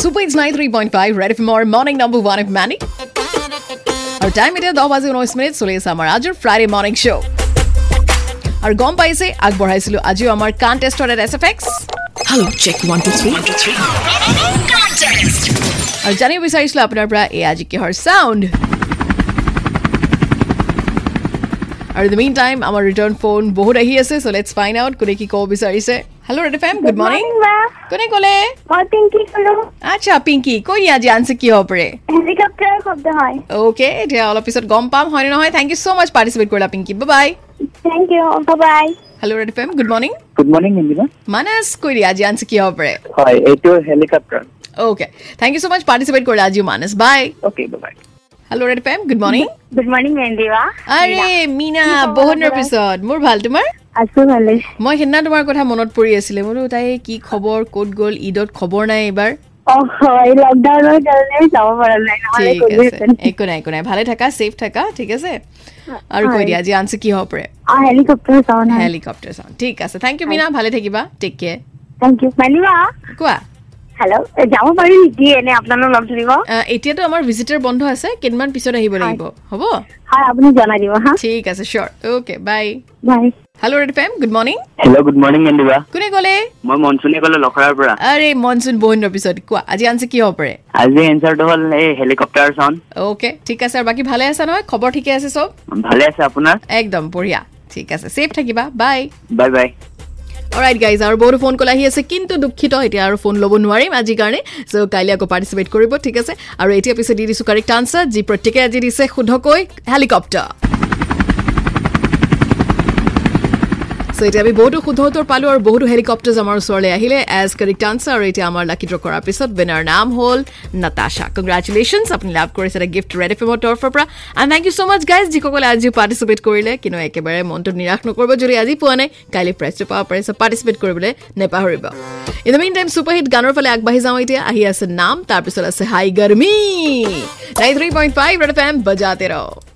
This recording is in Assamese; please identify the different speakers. Speaker 1: Super it's nine three point five red F এমৰ morning number one F money আৰু টাইম এতিয়া দহ বাজি ঊনৈছ মিনিট চলি আছে আমাৰ আজিৰ ফ্ৰাইডে মৰ্ণিং শ্ব' আৰু গম পাইছে আগবঢ়াইছিলোঁ আজিও আমাৰ কণ্টেষ্টৰ at S F X
Speaker 2: Hello, check one, two, three.
Speaker 1: আৰু জানিব বিচাৰিছিলোঁ আপোনাৰ পৰা এই আজি কিহৰ চাউণ্ড আৰু দ্য মেইন টাইম আমাৰ ৰিটাৰ্ণ ফোন বহুত আহি আছে চ' লেটছ ফাইন আউট কোনে কি ক'ব বিচাৰিছে hello' red F M good morning
Speaker 3: ma'am
Speaker 1: কোনে ক'লে
Speaker 3: মই পিংকি কলো
Speaker 1: আচ্ছা পিংকি কৈ দিয়া আজি আনছে কি হ'ব পাৰে
Speaker 3: হেলিকপ্টাৰৰ শব্দ হয়
Speaker 1: অ'কে এতিয়া অলপ পিছত গম পাম হয়নে নহয় thank you so' much participate কৰিলা Pinky bye
Speaker 3: thank you bye
Speaker 1: hello' red F M good morning
Speaker 4: good morning Indira
Speaker 1: Manas কৈ দিয়া আজি আনছে কি হ'ব পাৰে
Speaker 4: হয় এইটো helicopter
Speaker 1: okay thank you so' much participate কৰিলা আজিও Manas bye
Speaker 4: okay bye
Speaker 1: hello' red F M good morning
Speaker 3: good morning মেন্দিবা
Speaker 1: আৰে মীনা বহুত দিনৰ পিছত মোৰ ভাল তোমাৰ
Speaker 3: আছো ভালে
Speaker 1: মই সেইদিনা তোমাৰ কথা মনত পৰি আছিলে বোলো তাই কি খবৰ ক'ত গ'ল ঈদত খবৰ নাই এইবাৰ
Speaker 3: অ হয় লকডাউনৰ কাৰণে যাব পৰা নাই নহলে
Speaker 1: ঠিক আছে একো নাই একো নাই ভালে থাকা ছেফ থাকা ঠিক আছে আৰু কৈ দিয়া আজি আনছে কি হ'ব পাৰে
Speaker 3: অ হেলিকপ্টাৰ চাউণ্ড হয়
Speaker 1: হেলিকপ্টাৰ চাউণ্ড ঠিক আছে থেংক ইউ মীনা ভালে থাকিবা take care
Speaker 3: thank you Mendiba
Speaker 1: কোৱা
Speaker 3: হেল্ল' যাব পাৰি নেকি এনে আপোনালোক লগ ধৰিব
Speaker 1: আহ, এতিয়াতো আমাৰ ভিজিটাৰ বন্ধ আছে কেইদিনমান পিছত আহিব লাগিব হ'ব
Speaker 3: হয় আপুনি জনাই দিব হা
Speaker 1: ঠিক আছে cheers okay bye
Speaker 3: bye
Speaker 1: hello' red FM good morning
Speaker 4: hello' good morning Indira
Speaker 1: কোনে ক'লে
Speaker 4: মই মনচুনে ক'লো লখৰাৰ পৰা
Speaker 1: আৰে মনচুন বহুত দিনৰ পিছত কোৱা আজি আনছে কি হ'ব পাৰে
Speaker 4: আজি এনচাৰটো হ'ল এই হেলিকপ্টাৰ চাউণ্ড
Speaker 1: অ'কে ঠিক আছে আৰু বাকী ভালে আছা নহয় খবৰ ঠিকে আছে চব
Speaker 4: ভালে আছে আপোনাৰ
Speaker 1: একদম বঢ়িয়া ঠিক আছে ছেফ থাকিবা bye
Speaker 4: bye bye
Speaker 1: right guys আৰু বহুতো ফোন কল আহি আছে কিন্তু দুখিত এতিয়া আৰু ফোন ল'ব নোৱাৰিম আজিৰ কাৰণে চ' কাইলৈ আকৌ পাৰ্টিচিপেট কৰিব ঠিক আছে আৰু এতিয়া পিছে দি দিছোঁ কাৰেক্ট আনচাৰ যি প্ৰত্যেকে আজি দিছে শুদ্ধকৈ হেলিকপ্টাৰ চ' এতিয়া আমি বহুতো শুদ্ধ উত্তৰ পালোঁ আৰু বহুতো হেলিকপ্টাৰ্ছ আমাৰ ওচৰলৈ আহিলে এজ কাৰেক্ট আনচাৰ আৰু এতিয়া আমাৰ লাকি ড্ৰ কৰাৰ পিছত উইনাৰ নাম হ'ল নাতাশা কংগ্ৰেচুলেশ্যনছ আপুনি লাভ কৰিছে এটা গিফ্ট ৰেড এফ এমৰ তৰফৰ পৰা and thank you so' much guys যিসকলে আজিও পাৰ্টিচিপেট কৰিলে কিন্তু একেবাৰে মনটো নিৰাশ নকৰিব যদি আজি পোৱা নাই কাইলৈ প্ৰাইজটো পাব পাৰে চ' পাৰ্টিচিপেট কৰিবলৈ নেপাহৰিব in the meantime super hit গানৰ ফালে আগবাঢ়ি যাওঁ এতিয়া আহি আছে নাম তাৰপিছত আছে হাই গৰমি nine three point five red F M বজাতে ৰহ